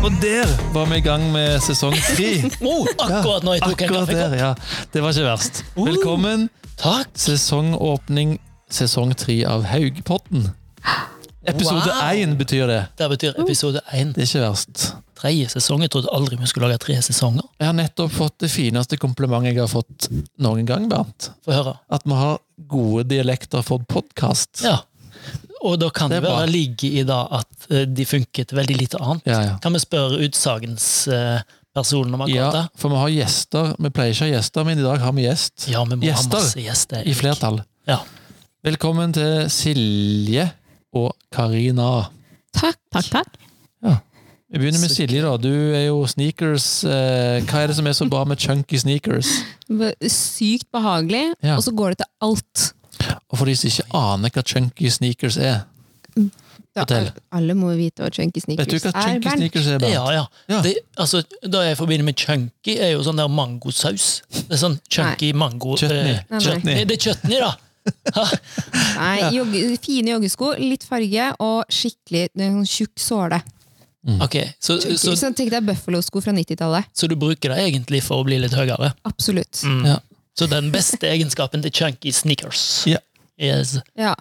Og der var vi i gang med sesong tre. Oh, akkurat nå jeg tok en Akkurat kaffe. der, ja. Det var ikke verst. Velkommen. Oh. Takk. Sesongåpning sesong tre av Haugpotten. Episode Wow. én betyr det. Det betyr episode én. Det er ikke verst. Tre sesonger. Jeg trodde aldri vi skulle lage tre sesonger. Jeg har nettopp fått det fineste komplimentet jeg har fått noen gang, Bernt. Få høre. At vi har gode dialekter for podkast. Ja. Og da kan Det det, er bra. være ligge i da at eh, de funket veldig lite annet. Ja, ja. Kan vi spørre utsagnspersonen om akkurat det? Ja, for vi har gjester. Vi pleier ikke å ha gjester, men i dag har vi gjest. Ja, vi må Gjester. ha masse gjester. I flertall. Ja. Velkommen til Silje og Karina. Takk. Takk, takk. Vi begynner med Så Silje. da. Du er jo sneakers. eh, Hva er det som er så bra med chunky sneakers? B- Sykt behagelig, Ja. og så går det til alt. Og for de som ikke aner hva chunky sneakers er Ja, Fortell. alle må vite hva chunky sneakers Vet du hva er. chunky Bernt. sneakers er? Bernt? Ja, ja. Ja. Det, altså, det jeg forbinder med chunky, er jo sånn der mangosaus. Det er sånn chunky mango... Chutney. eh, Nei, nei. Nei, Chutney. det er chutney, da! Nei, jogge, fine joggesko, litt farge og skikkelig det er en sånn tjukk såle. Mm. Ok, så, Chunky. så, Så Tenk deg Buffalo-sko fra 90-tallet. så du bruker det egentlig for å bli litt høyere? Absolutt. Mm. Ja. Så den beste egenskapen til chunky sneakers Ja. yes. Ja.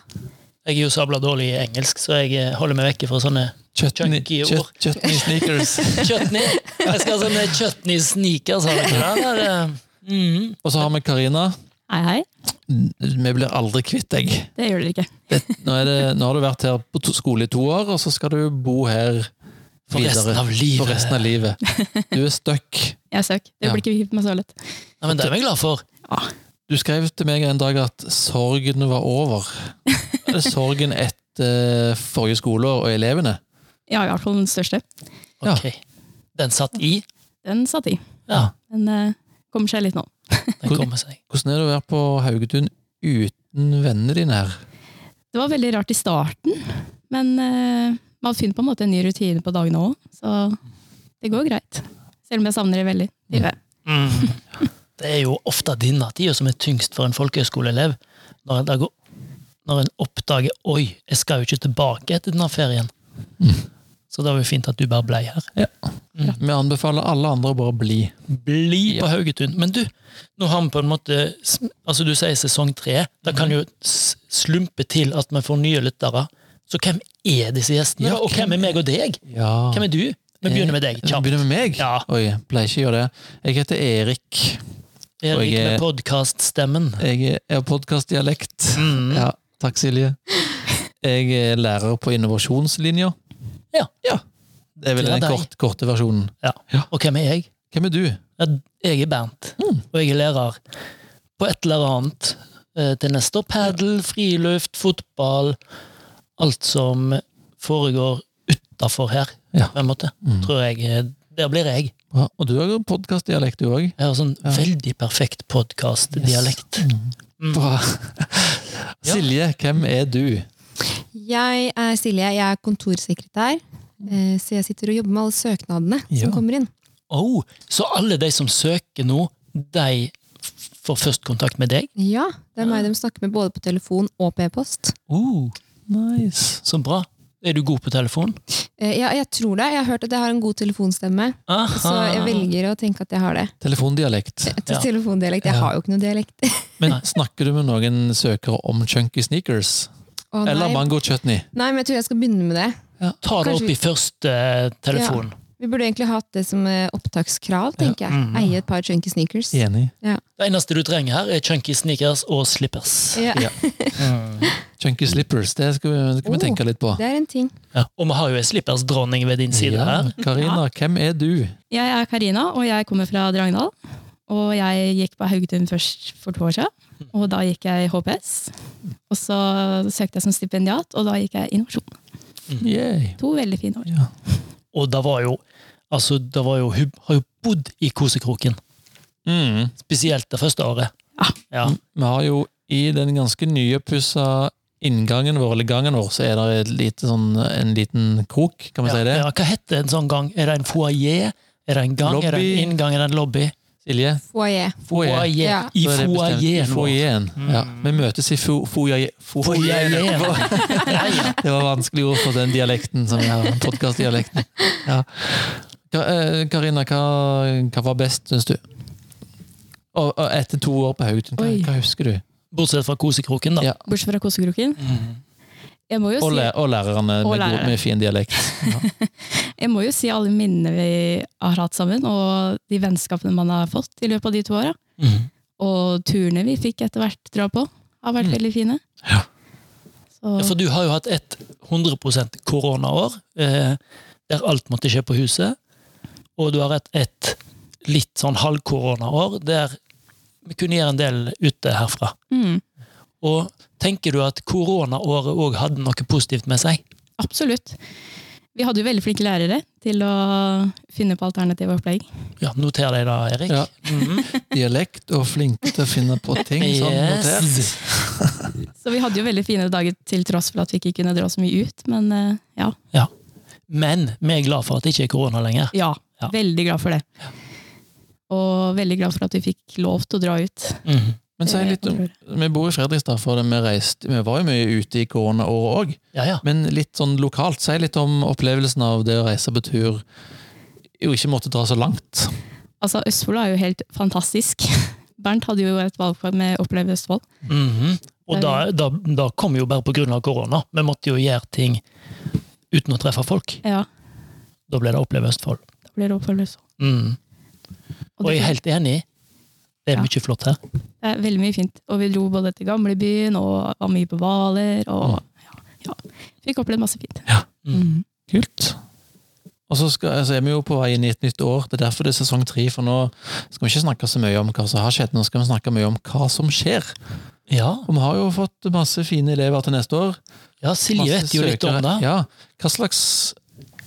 Jeg er jo sabla dårlig i engelsk, så jeg eh, holder meg vekke fra sånne Chutney, Chunky chut- ord. chutney sneakers. chutney. Jeg skal ha sånne chutney sneakers. Har dere det? Det er, eh, mm. Og så har vi Karina. Hei, hei. Vi blir aldri kvitt deg. Det gjør dere ikke. Det, nå, er det, nå har du vært her på to, skole i to år, og så skal du bo her For videre. resten av livet. For resten av livet. Du er stuck. Jeg søk. Det Ja. blir ikke gitt meg så lett. Nei, men det er vi glad for. Du skrev til meg en dag at sorgen var over. Er det sorgen etter eh, forrige skoleår og elevene? Ja, i hvert fall den største. Ja. Ok. Den satt i. Den satt i. Ja, Den eh, kommer seg litt nå. den kommer seg. Hvordan er det å være på Haugetun uten vennene dine her? Det var veldig rart i starten, men eh, man finner på en måte en ny rutine på dagene òg, så det går greit. Selv om jeg savner det veldig. Livet. Mm. Det er jo ofte denne tida som er tyngst for en folkehøyskoleelev. Når en, da går, når en oppdager 'oi, jeg skal jo ikke tilbake etter denne ferien'. Mm. Så det var jo fint at du bare blei her. Vi anbefaler alle andre å bare bli. Bli på Haugetun. Men du, nå har vi på en måte sm- altså Du sier sesong tre. Det Mhm. kan jo s- slumpe til at vi får nye lyttere. Så hvem er disse gjestene, Ja, da? og hvem er hvem- meg og deg? Ja. Eh, Hvem er du? Vi begynner med deg. Vi Kjapt. begynner med meg? Ja. Oi, pleier ikke å gjøre det. Jeg heter Erik. og Erik jeg er- med podkaststemmen. Jeg er- jeg har podkastdialekt. Mm. Ja, takk, Silje. Jeg er lærer på innovasjonslinja. Ja. Det er vel Det er den deg. korte, korte versjonen. Og hvem er jeg? Hvem er du? Ja, jeg er Bernt, Mm. og jeg er lærer på et eller annet eh, til neste år. Padel, friluft, fotball. Alt som foregår utafor her, Ja. Mm. på en måte. Tror jeg, eh, der blir jeg. Bra. Og du har podkastdialekt, du òg. Jeg har sånn Ja. Mm. veldig perfekt podkastdialekt. Bra. Ja. Silje, hvem er du? Jeg er Silje, jeg er kontorsekretær, eh, så jeg sitter og jobber med alle søknadene Ja. som kommer inn. Oh, så alle de som søker nå, de f- får først kontakt med deg? Ja, det er meg de snakker med både på telefon og på e-post. Oh, Nice. så bra. Er du god på telefon? Eh, ja, jeg tror det. Jeg har hørt at jeg har en god telefonstemme. Aha. Så jeg velger å tenke at jeg har det. Telefondialekt. Jeg tror Ja. telefondialekt. Jeg Ja. har jo ikke noe dialekt. Men snakker du med noen søkere om chunky sneakers? Å, nei. Eller mango chutney? nei, men jeg tror jeg skal begynne med det. Ta det Kanskje opp vi- i første eh, telefon. Vi burde egentlig hatt det som eh, opptakskrav, tenker jeg. Mm. Eie et par chunky sneakers. Enig. Det eneste du trenger her, er chunky sneakers og slippers. Ja, Ja. Mm. Chunky slippers, det skal vi, skal vi Oh, tenke litt på. Det er en ting. Ja. Og vi har jo ei slippersdronning ved din side her. Karina, hvem er du? Jeg er Karina, og jeg kommer fra Drangedal. Og jeg gikk på Haugetun først for to år siden, og da gikk jeg HPS. Og så søkte jeg som stipendiat, og da gikk jeg innovasjon. Yay. To veldig fine år. Og det var jo Altså, det var jo Hun har jo bodd i kosekroken. Mm. Spesielt det første året. Ah. Ja. Vi har jo i den ganske nypussa inngangen vår, eller gangen vår, så er det et lite sånn, en liten krok, kan vi Ja. si det? Ja. Hva heter en sånn gang? Er det en foyer? Er det en gang? Er det Lobby. en inngang? Er det en lobby? Silje? Foyer. Foyer. Så I Mm. Ja. er det bestemt. I foyeren vår. foyeren. Ja. Vi møtes i fo- foyer... fo- Foyeren. Foyer. Ja, ja. Det var vanskelig ord for den dialekten som jeg har, podkastdialekten. Ja. Ka- eh, Karina, hva, hva var best, syns du? Og, og etter to år på Haugen, hva, Oi. hva husker du? Bortsett fra kosekroken, da. Mm. Ja. Bortsett fra Kosekroken. Jeg må jo Og, si, læ- og lærerne Og med, god- lærere. med fin dialekt. jeg må jo si alle minnene vi har hatt sammen, og de vennskapene man har fått i løpet av de to åra. Mm. Mhm. Og turene vi fikk etter hvert dra på, har vært Mm. veldig fine. Ja. Så, Ja, For du har jo hatt et 100 koronaår, eh, der alt måtte skje på huset. Og du har hatt et litt sånn halvkoronaår, der vi kunne gjøre en del ute herfra. mm, Og tenker du at koronaåret òg hadde noe positivt med seg? absolutt. Vi hadde jo veldig flinke lærere til å finne på alternative opplegg. Ja, Noter deg da, Erik. Ja. Mhm. Dialekt og flinke til å finne på ting. Sånn, notert. Yes. Så vi hadde jo veldig fine dager til tross for at vi ikke kunne dra så mye ut. Men eh, ja, Men vi er glad for at det ikke er korona lenger. ja, Ja. veldig glad for det. Og veldig glad for at vi fikk lov til å dra ut. Eh, Mhm. Men si litt om Vi bor i Fredrikstad, for vi, reiste, vi var jo mye ute i koronaåret òg. Ja, ja. Men litt sånn lokalt, si litt om opplevelsen av det å reise på tur og ikke måtte dra så langt. Altså, Østfold er jo helt fantastisk. Bernt hadde jo et valgfag med Oppleve Østfold. Mhm. Og da, da, da kom vi jo bare på grunn av korona. Vi måtte jo gjøre ting uten å treffe folk. Ja, Da ble det Oppleve Østfold. da blir det Oppleve Østfold. Mhm. Og Og det, jeg er helt enig. Det er Ja. mye flott her. det er veldig mye fint. Og vi dro både til gamlebyen og var mye på Hvaler. Og Mm. ja, ja. fikk opplevd masse fint. Ja. Mm. Kult. Og så skal, altså er vi jo på vei inn i et nytt år. Det er derfor det er sesong tre. For nå skal vi ikke snakke så mye om hva som har skjedd, nå skal vi snakke mye om hva som skjer. Ja, Og vi har jo fått masse fine elever til neste år. ja Silje Masse vet jo litt om søkere. det. Ja. Hva slags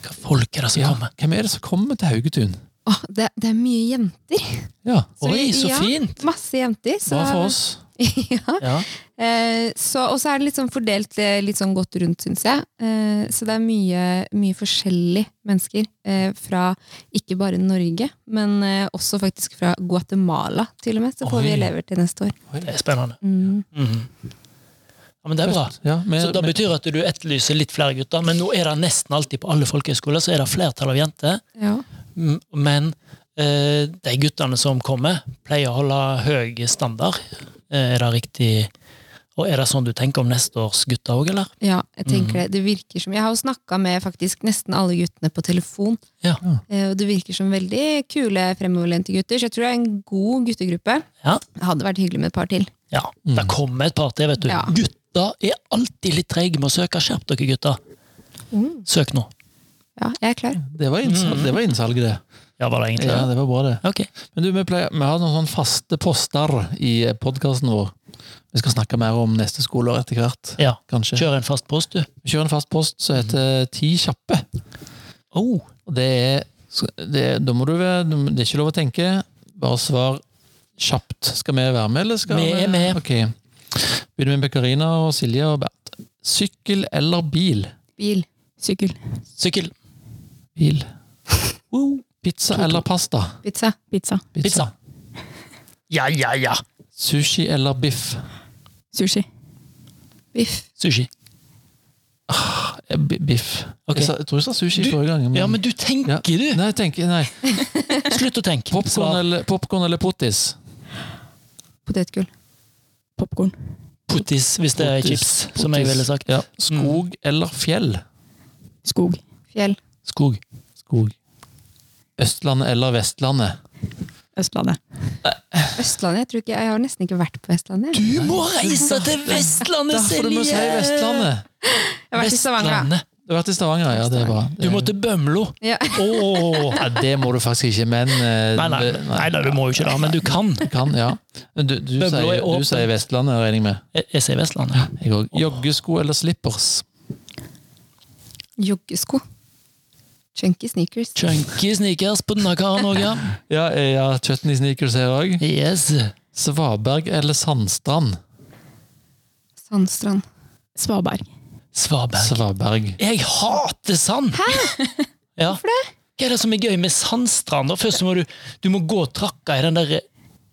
Hva folk er det som ja, kommer? Hvem er det som kommer til Haugetun? Åh, det, det er mye jenter. Ja, Så Oi, vi- så ja. fint! Masse jenter. Så, Bra for oss. ja. Ja. Eh, så, og så er det litt sånn fordelt eh, litt sånn godt rundt, syns jeg. Eh, så det er mye, mye forskjellige mennesker eh, fra ikke bare Norge, men eh, også faktisk fra Guatemala, til og med. Så får Oi. vi elever til neste år. Det er spennende. Mm. Mhm. Ja, men det er bra. Ja, vi, Så det vi- betyr at du etterlyser litt flere gutter, men nå er det nesten alltid på alle folkehøyskoler så er det flertall av jenter. Ja. M- Men eh, de guttene som kommer, pleier å holde høy standard. Eh, er det riktig? Og er det sånn du tenker om neste års gutter òg, eller? Ja, jeg tenker Mhm. det. Det virker som, Jeg har jo snakka med faktisk nesten alle guttene på telefon. Ja. Eh, Og det virker som veldig kule, fremoverlente gutter. Så jeg tror det er en god guttegruppe. Ja. Det hadde vært hyggelig med et par til. Ja, Mm. Det kommer et par til, vet du. Ja. Gutta er alltid litt treige med å søke. Skjerp dere, gutta. Søk nå. Ja, jeg er klar. det, var innsalg, det var innsalget, det. Mm. Ja, var det egentlig Ja, det? det var bra, det. Ok. Men du, vi, pleier, vi har noen sånne faste poster i podkasten vår. Vi skal snakke mer om neste skoleår etter hvert, Ja. kanskje. Kjør en fast post, du. Vi kjører en fast post som heter Ti kjappe. Oh. Og det er, det, er- da må du, være- det er ikke lov å tenke. Bare svar kjapt. Skal vi være med, eller skal Vi er med. Ok. Begynner vi med Karina og Silje og Bernt. Sykkel eller bil? Bil. Sykkel, Sykkel. Bil. Wow. Pizza eller pasta? Pizza. pizza, Pizza. Ja, ja, ja. Sushi eller biff? sushi. Biff. Sushi. Eh, bi- Biff. Ok. Jeg, sa, jeg tror jeg sa sushi Du- forrige gang. Ja, men du Ja. tenker, Nei, jeg tenker, nei. du! Slutt å tenke. Popkorn Svar. eller, popcorn eller pottis? Potetgull. Popkorn. Pottis, hvis det er Pottis. chips, som jeg Pottis. ville sagt. Ja. Skog Mm. eller fjell? Skog. Fjell. Skog. Skog. Østlandet eller Vestlandet? Østlandet. Østlandet. Jeg, tror ikke, jeg har nesten ikke vært på Vestlandet. jeg. Du må reise til Vestlandet, Derfor du må si Silje! Vestlandet! Jeg har vært i Stavanger. da. Vestlandet. Du har vært i Stavanger, ja. Det er bra. Du må til Bømlo. Ja. Åh. ja, det må du faktisk ikke, men eh, Nei, nei, det- nei, nei, du må jo ikke det, men du kan. Du kan, ja. Men du, du, Bømlo sier, du er åpent. sier Vestlandet, regner jeg med. Jeg, jeg sier Vestlandet. Jeg òg. Joggesko eller slippers? Joggesko. Chunky sneakers. Chunky sneakers på denne karen òg, ja. Ja, eh, ja Chutney sneakers her òg. Yes. Svaberg eller Sandstrand? Sandstrand. Svaberg. Svaberg. Svaberg. Jeg hater sand! Hæ? Ja. Hvorfor det? Hva er det som er gøy med sandstrand? da? Først så må du, du må gå og trakke i den der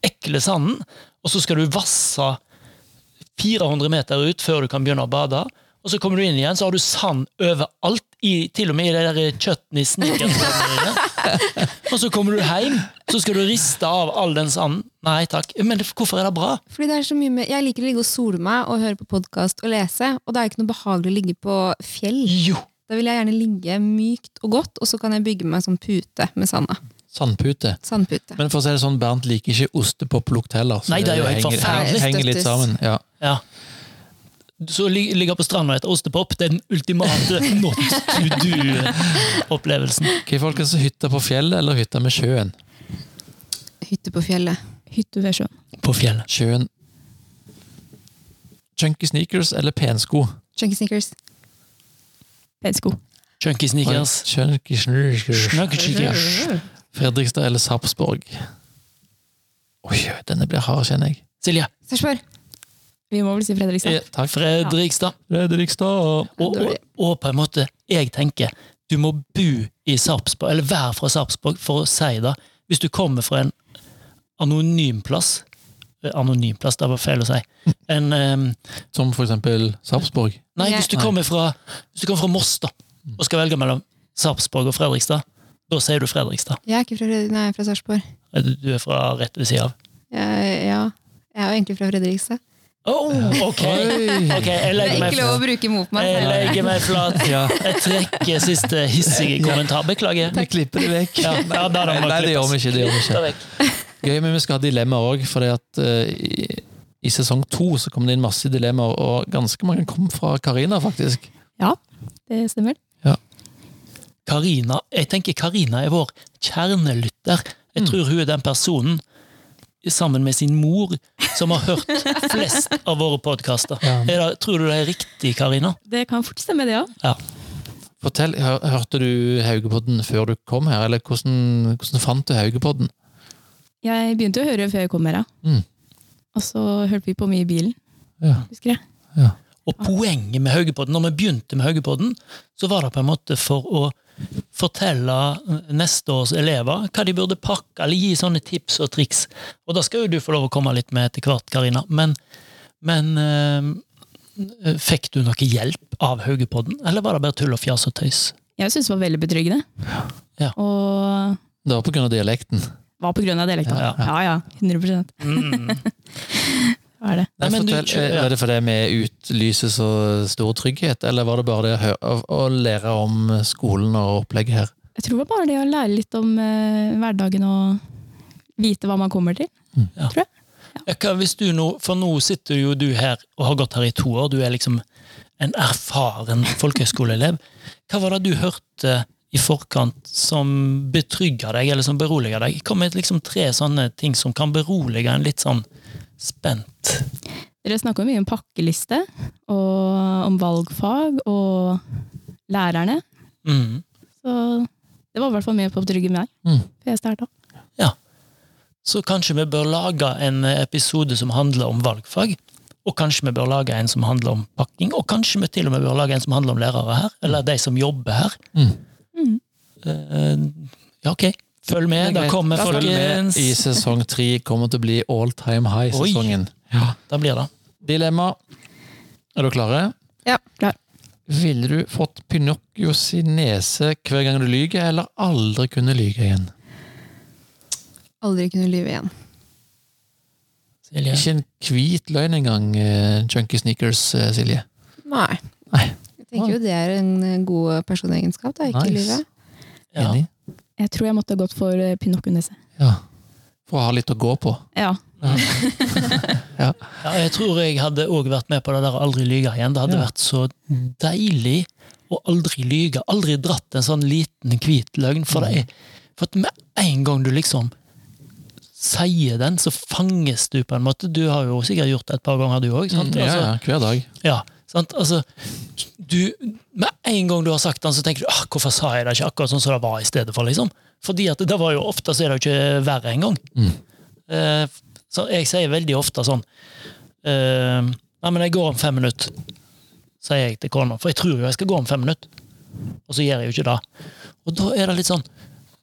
ekle sanden, og så skal du vasse 400 meter ut før du kan begynne å bade. Og så kommer du inn igjen, så har du sand overalt i, til og med i det der chutney-sneakers-greiene. og så kommer du hjem, så skal du riste av all den sanden. Nei takk. Men det, hvorfor er det bra? Fordi det er så mye mer Jeg liker å ligge og sole meg og høre på podkast og lese, og det er ikke noe behagelig å ligge på fjell. Jo! Da vil jeg gjerne ligge mykt og godt, og så kan jeg bygge meg sånn pute med sanda. Sandpute. Sandpute. Men for å si det sånn, Bernt liker ikke ostepoplukt heller. så Nei, det er jo helt henger, forferdelig. henger litt sammen. Ja. Ja. Så lig- ligge på stranda etter ostepop, det er den ultimate not to do-opplevelsen. Ok, folkens, hytta på fjellet eller hytta med sjøen? Hytte på fjellet. Hytte ved sjøen. På fjellet. Sjøen. Chunky sneakers eller pensko? Chunky sneakers. Pensko. Chunky sneakers. Chunky sneakers. Snuggy sneakers. Fredrikstad eller Sarpsborg? Oi, denne blir hard, kjenner jeg. Silje. eh, Sarpsborg. Vi må vel si Fredrikstad. Takk. Fredrikstad. Fredrikstad. Og, og, og på en måte, jeg tenker, du må bo i Sarpsborg, eller være fra Sarpsborg, for å si det. Hvis du kommer fra en anonym plass eh, Anonym plass, det var feil å si. En, ehm, Som for eksempel Sarpsborg. nei, Jeg- hvis du, Nei. kommer fra, hvis du kommer fra Moss, da, og skal velge mellom Sarpsborg og Fredrikstad, da sier du Fredrikstad. Jeg er ikke fra, Fred- nei, jeg er fra Sarpsborg. Eh, Du du er fra rett ved siden av. Jeg, ja. jeg er jo egentlig fra Fredrikstad. Oh, ok! Oi. Ok, jeg Det legger er meg ikke lov å bruke mot meg. Jeg legger meg flat. Ja. Jeg trekker siste hissige kommentar. Beklager. Vi klipper det vekk. Ja, ja, da, da må Nei, det gjør vi ikke. Det gjør vi Ta ikke. vekk. Gøy, men vi skal ha dilemmaer òg, for eh, i, i sesong to så kom det inn masse dilemmaer, og ganske mange kom fra Karina, faktisk. Ja, det stemmer. Karina, jeg tenker Karina er vår kjernelytter. Jeg tror hun er den personen, sammen med sin mor, som har hørt flest av våre podkaster. Ja. Tror du det er riktig, Karina? Det kan fort stemme, det òg. Fortell, hør, Hørte du Haugepodden før du kom her, eller hvordan, hvordan fant du Haugepodden? Jeg begynte å høre før jeg kom her, ja. Mm. Og så hørte vi på mye i bilen, Ja. husker jeg. Og poenget med Haugepodden, når vi begynte med Haugepodden, så var det på en måte for å fortelle neste års elever hva de burde pakke, eller gi sånne tips og triks. Og da skal jo du få lov å komme litt med etter hvert, Karina. Men, men eh, fikk du noe hjelp av Haugepodden, eller var det bare tull og fjas og tøys? Jeg syns det var veldig betryggende. Ja. Og Det var på grunn av dialekten. var på grunn av dialekta. Ja, Ja, ja. 100 Mm. Hva er det. Nei, Nei, men du- fortell, eh, ja. var det fordi vi utlyser så stor trygghet, eller var det bare det å, hø- å, å lære om skolen og opplegget her? Jeg tror det var bare det å lære litt om eh, hverdagen og vite hva man kommer til. Hva hvis du nå, For nå sitter jo du her og har gått her i to år. Du er liksom en erfaren folkehøyskoleelev. Hva var det du hørte i forkant som betrygger deg, eller som beroliger deg? Kom med liksom tre sånne ting som kan berolige en litt sånn spent. Dere snakker jo mye om pakkeliste, og om valgfag, og lærerne. Mm. Så det var i hvert fall med på å betrygge meg. Mm. før jeg startet. Så kanskje vi bør lage en episode som handler om valgfag. Og kanskje vi bør lage en som handler om pakking, og kanskje vi til og med bør lage en som handler om lærere her, eller de som jobber her. Mm. Mm. Eh, ja, ok. Følg med, da kommer Følg med folkens. i sesong tre. Kommer til å bli all time high-sesongen. Ja. Da blir det. Dilemma. Er du klare? Ja. Klar. Ville du fått Pinocchio sin nese hver gang du lyger, eller aldri kunne lyge igjen? Aldri kunne lyve igjen. Silje. Ikke en hvit løgn engang, eh, Chunky Sneakers, eh, Silje. Nei. Nei. Jeg tenker jo det er en eh, god personegenskap, da. Ikke Nice. lyve. Ja. Enig? Jeg tror jeg måtte ha gått for eh, Pinocchio-nese. Ja. For å ha litt å gå på. Ja. Ja, jeg tror jeg hadde òg vært med på det der å aldri lyge igjen. Det hadde Ja. vært så deilig å aldri lyge. Aldri dratt en sånn liten hvit løgn. For, Mm. det er, for at med en gang du liksom sier den, så fanges du på en måte. Du har jo sikkert gjort det et par ganger, du Altså, òg. Mm, Ja, ja, hver dag. Ja, sant? Altså, du, med en gang du har sagt den, så tenker du ah, 'hvorfor sa jeg det ikke akkurat sånn som det var i stedet for'? liksom. Fordi at det var jo ofte så er det jo ikke verre engang. Mm. Eh, så jeg sier veldig ofte sånn eh, 'Nei, men jeg går om fem minutter', sier jeg til kona. For jeg tror jo jeg skal gå om fem minutter, og så gjør jeg jo ikke det. Og da er det litt sånn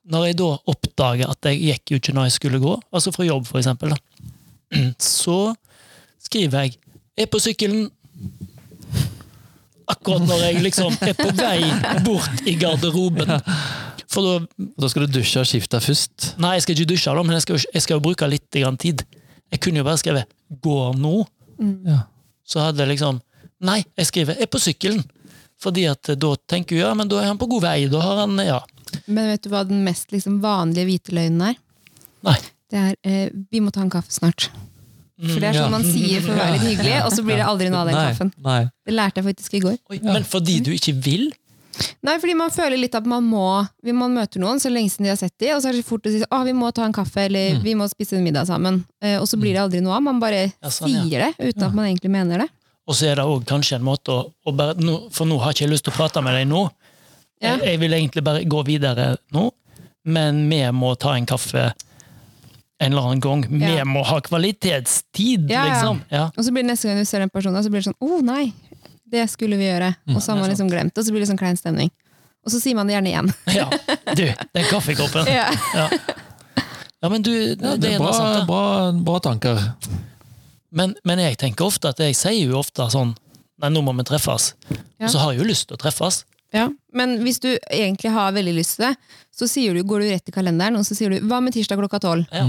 Når jeg da oppdager at jeg gikk jo ikke når jeg skulle gå, altså fra jobb, for eksempel, da, så skriver jeg 'er på sykkelen'. akkurat når jeg liksom er på vei bort i garderoben. For da Og da skal du dusje og skifte først. Nei, jeg skal ikke dusje, da, men jeg skal, jo- jeg skal jo bruke litt grann tid. Jeg kunne jo bare skrevet 'går nå', Ja. så hadde jeg liksom Nei, jeg skriver 'er på sykkelen'. Fordi at eh, da tenker hun ja, men da er han på god vei. Da har han Ja. Men vet du hva den mest liksom, vanlige hvite løgnen er? Nei. Det er eh, 'vi må ta en kaffe snart'. For det er ja. sånn man sier for å være litt hyggelig, og så blir det aldri noe av den Nei, kaffen. Nei. Det lærte jeg faktisk i går. Oi, Men fordi du ikke vil? Nei, fordi man føler litt at man må Hvis man møter noen, så lenge siden de har sett de, og så er det så fort å si «Å, vi må ta en kaffe, eller vi må spise en middag sammen. Eh, og så blir det aldri noe av. Man bare Ja, sånn, ja. sier det, uten at man egentlig mener det. Og så er det òg kanskje en måte å, å bare, nå, For nå har ikke jeg lyst til å prate med deg nå. Ja. Jeg, jeg vil egentlig bare gå videre nå, men vi må ta en kaffe en eller annen gang. Vi Ja. må ha kvalitetstid, Ja, ja. liksom. Ja. Og så blir det neste gang du ser den personen, så blir det sånn Å, nei! Det skulle vi gjøre. Og så har man liksom glemt det, og så blir det sånn klein stemning. Og så sier man det gjerne igjen. Ja, du, den kaffekoppen. Ja. Ja. ja, men du, det, Ja, det er er bra, interessant. da. bra, bra tanker. Men, men jeg tenker ofte at jeg sier jo ofte sånn Nei, nå må vi treffes. Ja. Og så har jeg jo lyst til å treffes. Ja, Men hvis du egentlig har veldig lyst til det, så sier du, går du rett i kalenderen og så sier du, hva med tirsdag klokka tolv? Ja.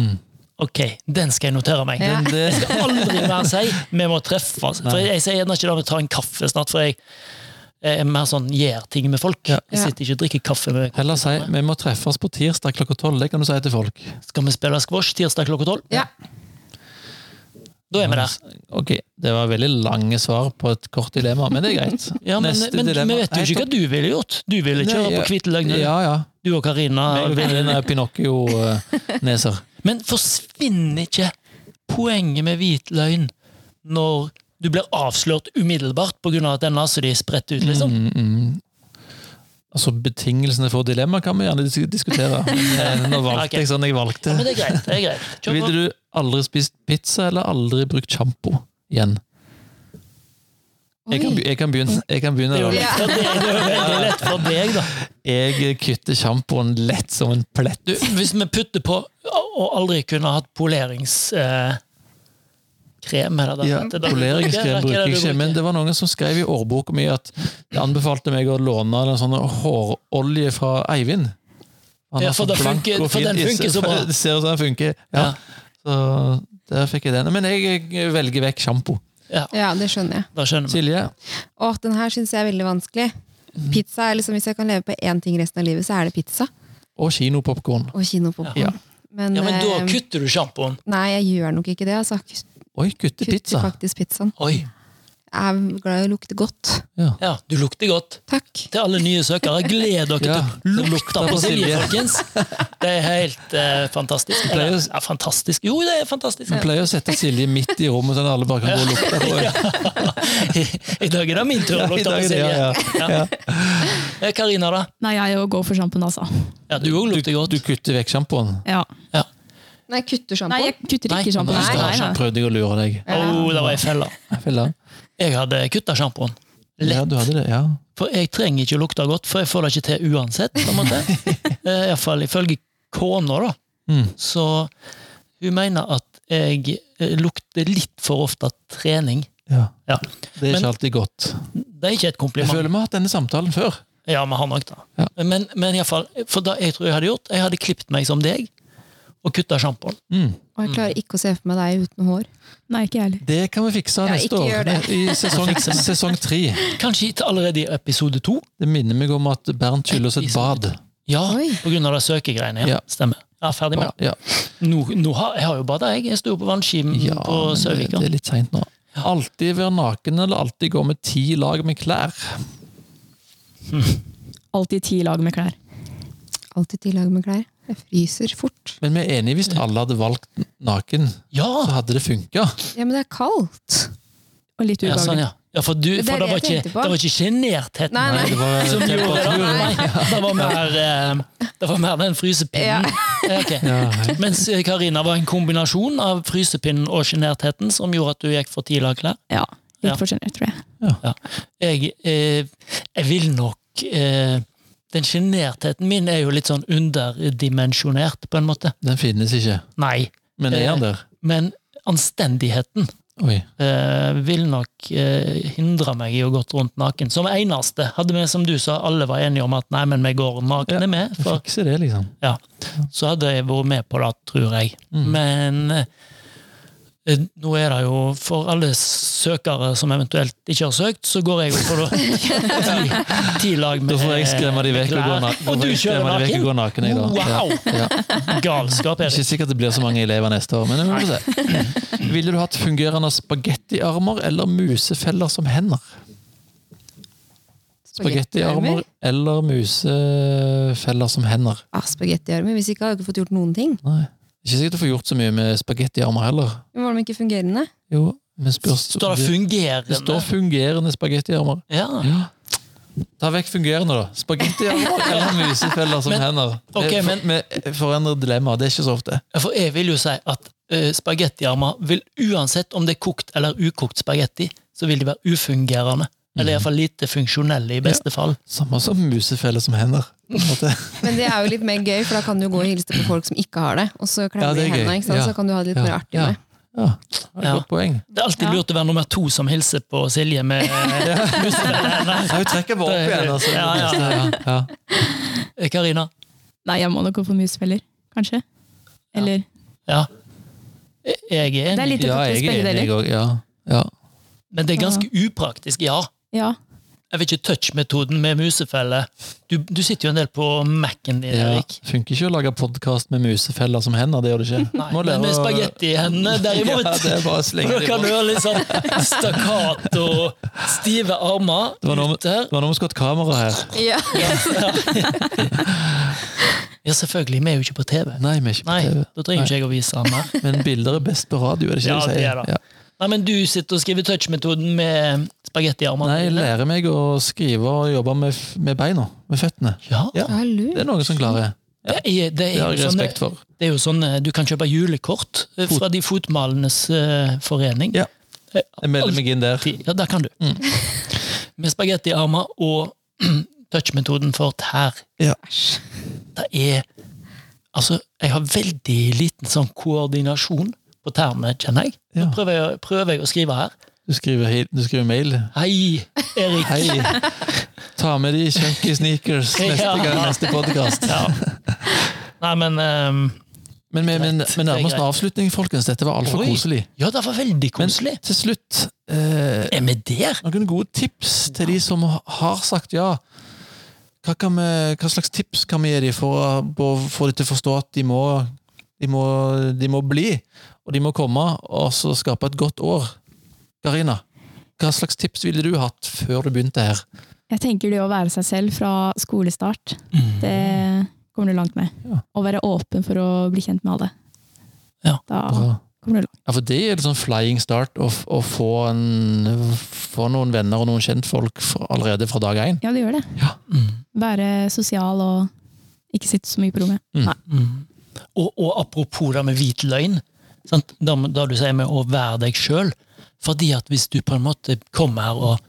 Ok, den skal jeg notere meg. Ja. Den, det skal aldri mer si. Vi må treffes. For jeg, jeg sier gjerne ikke da vi tar en kaffe snart, for jeg, jeg er mer sånn gjør ting med folk. Jeg sitter ikke og drikker kaffe med Heller si vi må treffes på tirsdag klokka tolv. Det kan du si til folk. Skal vi spille squash tirsdag klokka tolv? Ja. Da er vi der. Ok, Det var veldig lange svar på et kort dilemma, men det er greit. Ja, men, Neste men dilemma- vi vet jo ikke hva du ville gjort. Du ville Nei, kjøre ja. på hvite løgner. Ja, ja. Du og Karina. Jeg vil vinne denne Pinocchio-neser. Men forsvinner ikke poenget med hvit løgn når du blir avslørt umiddelbart pga. at den naser de er spredt ut, liksom? Mm, mm. Altså, betingelsene for dilemma kan vi gjerne dis- diskutere. Men, eh, Nå valgte Ok. jeg sånn jeg Ja, men valgte. det er greit. det er greit. Kjør Ville på. du aldri spist pizza eller aldri brukt sjampo igjen? Jeg kan, be- jeg kan begynne. Jeg, kan Det er jo begynne lett for deg, det er jo veldig lett for deg, da. jeg kutter sjampoen lett som en plett. Du, hvis vi putter på å aldri kunne hatt poleringskrem eh, krem, er det det? Ja, heter? Det- Poleringskrem Hva er bruker det jeg du ikke, men det var noen som skrev i årboka mi at de anbefalte meg å låne en sånn hårolje fra Eivind. Han Ja, har for så det blank funker- og for fin den is- funker så bra. Det ser ut som den funker. Ja. Ja. Så der fikk jeg den. Men jeg jeg velger vekk sjampo. Ja, det skjønner jeg. Da skjønner vi. Silje? Og den her syns jeg er veldig vanskelig. Pizza er liksom, Hvis jeg kan leve på én ting resten av livet, så er det pizza Og kinopopkorn. og kinopopkorn. Ja. Men, Ja, men da Ehm. eh, kutter du sjampoen. nei, jeg gjør nok ikke det. Altså. Kutter Oi, kutte pizza! faktisk pizzaen. Oi. Jeg er glad i å lukte godt. Ja. Ja, du lukter godt. Takk. til alle nye søkere. Gled dere Ja, til det lukta lukter på på Silje, Silje. folkens! Det er helt eh, fantastisk. pleier Eller, å- ja, fantastisk. Jo, det er fantastisk. Man pleier å sette Silje midt i rommet, sånn at alle bare kan gå og lukte på det. I, I dag er det min tur å I lukte dag på er det, ja, Silje. ja. Eh, Karina, da? Nei, jeg òg går for sjampoen, altså. Ja, du òg lukter godt. Du kutter vekk sjampoen. Ja. Nei, kutter Nei, sjampoen. jeg kutter ikke Nå sjampoen. nei, Nei, nei, nei. prøvde jeg å lure deg. Å, det var ei felle. Filla. Jeg hadde kutta sjampoen. Ja, Lett. du hadde det, ja. For jeg trenger ikke å lukte godt, for jeg får det ikke til uansett. på en måte. Eh, Iallfall ifølge kona, da. Mm. Så hun mener at jeg eh, lukter litt for ofte trening. ja. Ja. Det er Men- ikke alltid godt. Det er ikke et Jeg kompliment. føler vi har hatt denne samtalen før. Ja, vi har nok det. Ja. Men, men i alle fall, for da, jeg tror jeg hadde gjort, jeg hadde klippet meg som deg, og kutta sjampoen. Mm. Og jeg klarer ikke å se for meg deg uten hår. nei, ikke jeg heller. Det kan vi fikse Ja, neste ikke gjør år, det. i sesong, sesong tre. Kanskje til allerede i episode to. Det minner meg om at Bernt skylder oss et bad. Ja, Oi. på grunn av det søkegreiene. Ja. Ja. Stemmer. Ja, ferdig med det. Ja, Nå, nå har, jeg har jo bada, jeg. Jeg sto på vannskimen ja på men det, Sørvika. det er litt seint nå. Alltid være naken eller alltid gå med ti lag med klær? Alltid ti lag med klær. Alltid ti lag med klær. Jeg fryser fort. Men vi er enige hvis alle hadde valgt naken, Ja! så hadde det funka. Ja, men det er kaldt. Og litt ja, sånn, ubehagelig. ja. ja for, du, Det for er det det var jeg ikke, tenkte det på. var ikke sjenertheten. Nei, nei. Det var Som gjorde det. temperaturen. Nei, det var mer, eh, det var mer den Ja. frysepinnen. Ja. Ja. Mens eh, Karina var en kombinasjon av frysepinnen og sjenertheten som gjorde at du gikk for ti lag klær. Ja. Ja. Litt for sjenert, tror jeg. jeg, eh, jeg vil nok eh, Den sjenertheten min er jo litt sånn underdimensjonert, på en måte. Den finnes ikke. Nei. Men er han der? Men anstendigheten Oi. eh, vil nok eh, hindre meg i å gå rundt naken. Som eneste. Hadde vi, som du sa, alle var enige om at nei, men vi går nakne Ja. med, Jeg for, fikser det, liksom. så hadde jeg vært med på det, tror jeg. Mm. Men eh, nå er det jo For alle søkere som eventuelt ikke har søkt, så går jeg jo på da ti, ti lag med Da får jeg skremme de vekk og gå klær. naken. Eh, Og du kjører naken? Gå naken jeg, da. Wow! Ja. Ja. Galskap, Det er Erik. Ikke sikkert det blir så mange elever neste år, men vi får se. Ville du hatt fungerende spagettiarmer eller musefeller som hender? Spagettiarmer eller musefeller som hender? Ah, spagettiarmer. Hvis ikke har jeg ikke fått gjort noen ting. Nei. Det er Ikke sikkert du får gjort så mye med spagettiarmer heller. Men Var de ikke fungerende? Jo, men spørs Står det Det står fungerende? fungerende spagettiarmer. Ja. Ja. Ta vekk fungerende, da. Spagettiarmer eller musefeller som Men- hender. Det ok, er for- men- med forandret dilemma. Det er ikke så ofte. Ja, For jeg vil jo si at uh, spagettiarmer vil uansett om det er kokt eller ukokt spagetti, så vil de være ufungerende. Eller Mhm. iallfall lite funksjonelle, i beste fall. Samme som musefeller som hender. på en måte. Men det er jo litt mer gøy, for da kan du gå og hilse på folk som ikke har det. Og Ja, så klemmer det de er gøy. hendene, ikke sant? Ja. så kan du ha det litt Ja. mer artig Ja. med. Ja, det er et Ja. godt poeng. Det er alltid Ja. lurt å være nummer to som hilser på Silje med eh, Ja, hun trekker bare opp Det- igjen. Altså. Ja, ja. Ja, Eh, Karina. Nei, jeg må nok gå for musfeller, kanskje. Eller Ja. Jeg jeg er Det er enig, litt- ja. ja, faktisk jeg begge er enig. deler. jeg også, Ja. Ja. men det er ganske upraktisk, ja. Ja. Jeg vet ikke touch-metoden med musefelle. Du, du sitter jo en del på Mac-en din, Ja. Erik. Funker ikke å lage podkast med musefeller som hender, det gjør det ikke. Nei, Må lære men med å- spagettihendene, derimot! Ja, det er bare å slenge Da det kan du bort. ha litt sånn stakkat og stive armer Det var noe med- ut her. Det var noe vi skulle ha et kamera her. Ja. Ja, selvfølgelig. Vi er jo ikke på TV. Nei, vi er ikke på Nei, TV. da trenger ikke jeg å vise han mer. Men bilder er best på radio, er det ikke Ja, det du det sier? er det. Nei, men du sitter og skriver touch-metoden med spagettiarmene Nei, jeg dine. lærer meg å skrive og jobbe med, f- med beina, med føttene. Ja. Ja. Ja, lurt. Det er noen som klarer det. Det er, det, Det er har jo jeg sånn, respekt for. det er jo sånn eh, Du kan kjøpe julekort eh, Fot- fra de fotmalenes eh, forening. Ja. Eh, Jeg melder meg inn der. Alltid. Ja, der kan du. Mm. Med spagettiarmer og touch-metoden for tær. Æsj. Det er Altså, jeg har veldig liten sånn koordinasjon på tærne, kjenner jeg. Nå Ja. prøver jeg, prøver jeg å skrive her. Du skriver, hei- du skriver mail. Hei, Erik. Hei! Ta med de chunky sneakers neste Ja. gang, neste podkast. Ja. Nei, men ehm, Men vi men, Greit. vi nærmer oss Det er en avslutning, folkens. Dette var altfor Oi. koselig. Ja, det var veldig Men koselig. til slutt eh, er vi der? noen gode tips til de som har sagt ja. Hva, kan vi, hva slags tips kan vi gi dem for å for å få dem til å forstå at de må, de, må, de må bli, og de må komme, og så skape et godt år? Karina, hva slags tips ville du hatt før du begynte her? Jeg tenker det å være seg selv fra skolestart, Mm. det kommer du langt med. Ja. Å være åpen for å bli kjent med alle. Ja. Da Bra. kommer du langt. Ja, for det er litt sånn flying start å, f- å få, en, få noen venner og noen kjentfolk fra, allerede fra dag én. Ja, det gjør det. Mm. Være sosial og ikke sitte så mye på rommet. Mm. Og, og apropos det med hvit løgn, sant? Da, da du sier med å være deg sjøl. Fordi at hvis du på en måte kommer her og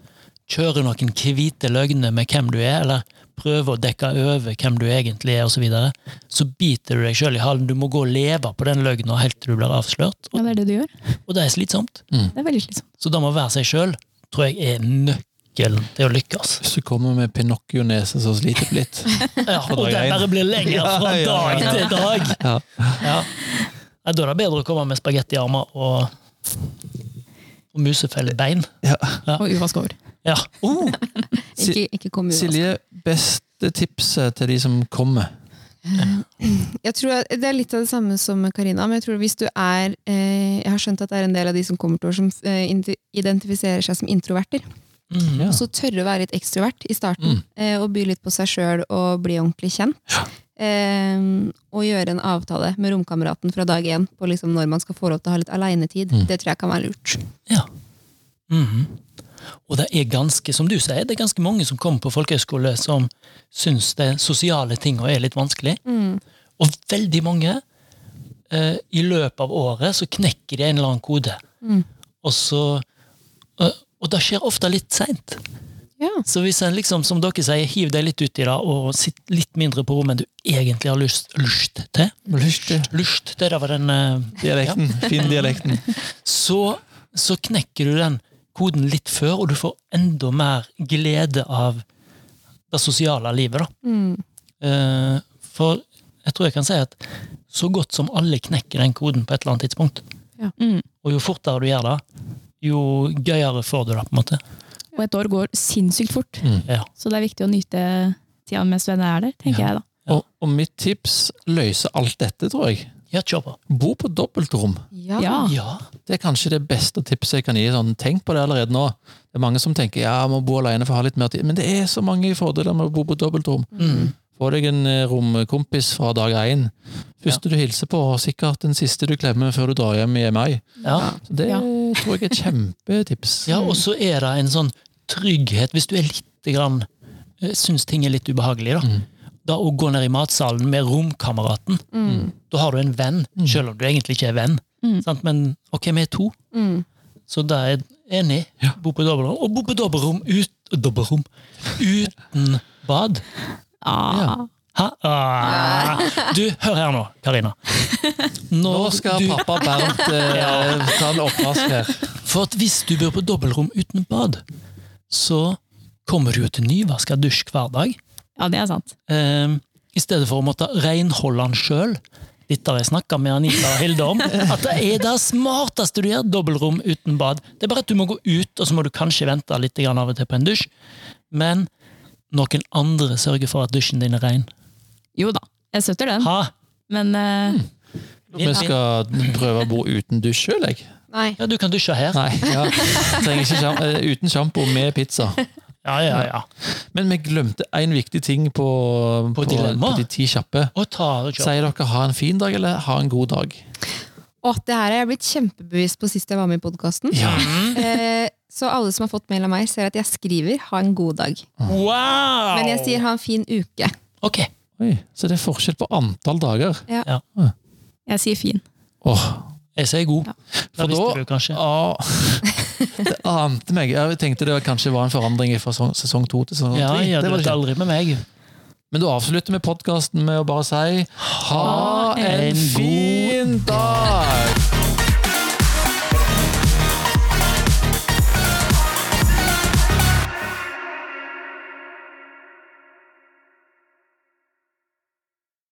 kjører noen hvite løgner med hvem du er, eller prøver å dekke over hvem du egentlig er, osv., så, videre, så biter du deg sjøl i halen. Du må gå og leve på den løgna helt til du blir avslørt, Ja, det er det du gjør. og det er slitsomt. Det er veldig slitsomt. Så da må være seg sjøl, tror jeg er nøkkelen til å lykkes. Hvis du kommer med Pinocchio-nese som sliter litt. Ja, og dag den én. bare blir lenger fra Ja, ja, dag ja. til dag. Ja. Ja. Nei, Da er det bedre å komme med spagettiarmer og, og musefellebein. Og uvask over. Ja. Oh, Si- Ikke, ikke kom uansett. Silje, beste tipset til de som kommer? jeg tror at Det er litt av det samme som med Karina, men jeg tror hvis du er eh, Jeg har skjønt at det er en del av de som kommer til år, som eh, inti- identifiserer seg som introverter. mm. Ja. Og så tørre å være litt ekstrovert i Mm. starten, eh, og by litt på seg sjøl og bli ordentlig kjent. Eh, og gjøre en avtale med romkameraten fra dag én på liksom når man skal få lov til å ha litt alenetid. Mm. Det tror jeg kan være lurt. ja. Mhm. Og det er ganske, som du sier, det er ganske mange som kommer på folkehøyskole som syns de sosiale tingene er litt vanskelig. Mm. Og veldig mange, eh, i løpet av året, så knekker de en eller annen kode. Mm. Og så eh, Og det skjer ofte litt seint. Ja. Så hvis en liksom, som dere sier, hiv deg litt ut i det, og sitt litt mindre på rommet enn du egentlig har lyst, lyst til, Lyst til lyst til, det var den, eh, dialekten. Finn dialekten. så så knekker du den koden litt før, og du får enda mer glede av det sosiale livet. da. Mm. Eh, For jeg tror jeg kan si at så godt som alle knekker den koden på et eller annet tidspunkt. Mm. Og jo fortere du gjør det, jo gøyere får du det. på en måte. Og et år går sinnssykt fort, Mm. Ja. så det er viktig å nyte tida mens venner er der, tenker jeg da. Og, og mitt tips løser alt dette, tror jeg. Ja, kjør på. Bo på dobbeltrom. Ja. Ja. Ja. Det er kanskje det beste tipset jeg kan gi. Sånn, tenk på det allerede nå. Det er mange som tenker ja, jeg må bo alene for å ha litt mer tid. Men det er så mange fordeler med å bo på dobbeltrom. Mm. Få deg en eh, romkompis fra dag én. Første du hilser på, og sikkert den siste du klemmer før du drar hjem i mai. Ja. Så det Ja. tror jeg er et kjempetips. ja, og så er det en sånn trygghet, hvis du er litt grann, eh, syns ting er litt ubehagelig, da. Mm. Da å gå ned i matsalen med romkameraten, Mm. da har du en venn, Mm. selv om du egentlig ikke er venn. Mm. Sant? Men ok, vi er to, Mm. så da er jeg enig. Ja. Bo på dobbeltrom. Og bo på dobbeltrom ut, dobbeltrom, uten bad. Ah. Hæ? Ah. Du, hør her nå, Karina. Nå Når skal du, pappa Bernt eh, ta en oppvask her. For at hvis du bor på dobbeltrom uten bad, så kommer du jo til nyvaska dusj hver dag. Ja, det er sant. Ehm, I stedet for å måtte renholde den sjøl. Dette har jeg snakka med Anita og Hilde om. At det er det smarteste du gjør, dobbeltrom uten bad. Det er bare at du må gå ut, og så må du kanskje vente litt grann av og til på en dusj. Men noen andre sørger for at dusjen din er ren. Jo da, jeg støtter den, Ha! men eh, Vi skal prøve å bo uten dusj sjøl, jeg. Nei. Ja, du kan dusje her. Nei, ja. Trenger ikke sjam eh, uten sjampo, med pizza. Ja, ja, ja. Men vi glemte en viktig ting på, På dilemma? på de ti kjappe. Og ta og kjør. Sier dere ha en fin dag eller ha en god dag? Og det her er jeg blitt kjempebevisst på sist jeg var med i podkasten. Ja. Eh, så alle som har fått mail av meg, ser at jeg skriver 'ha en god dag'. Wow! Men jeg sier 'ha en fin uke'. Ok. Oi, så det er forskjell på antall dager. jeg sier fin. Åh, Jeg sier god. Ja. Da For da- visste du kanskje. ah, det ante meg. Jeg tenkte det kanskje var en forandring fra sesong- sesong to til sesong Ja, tre. ja, det du var vet det ikke. aldri med meg. Men du avslutter med podkasten med å bare si ha en en god fin dag!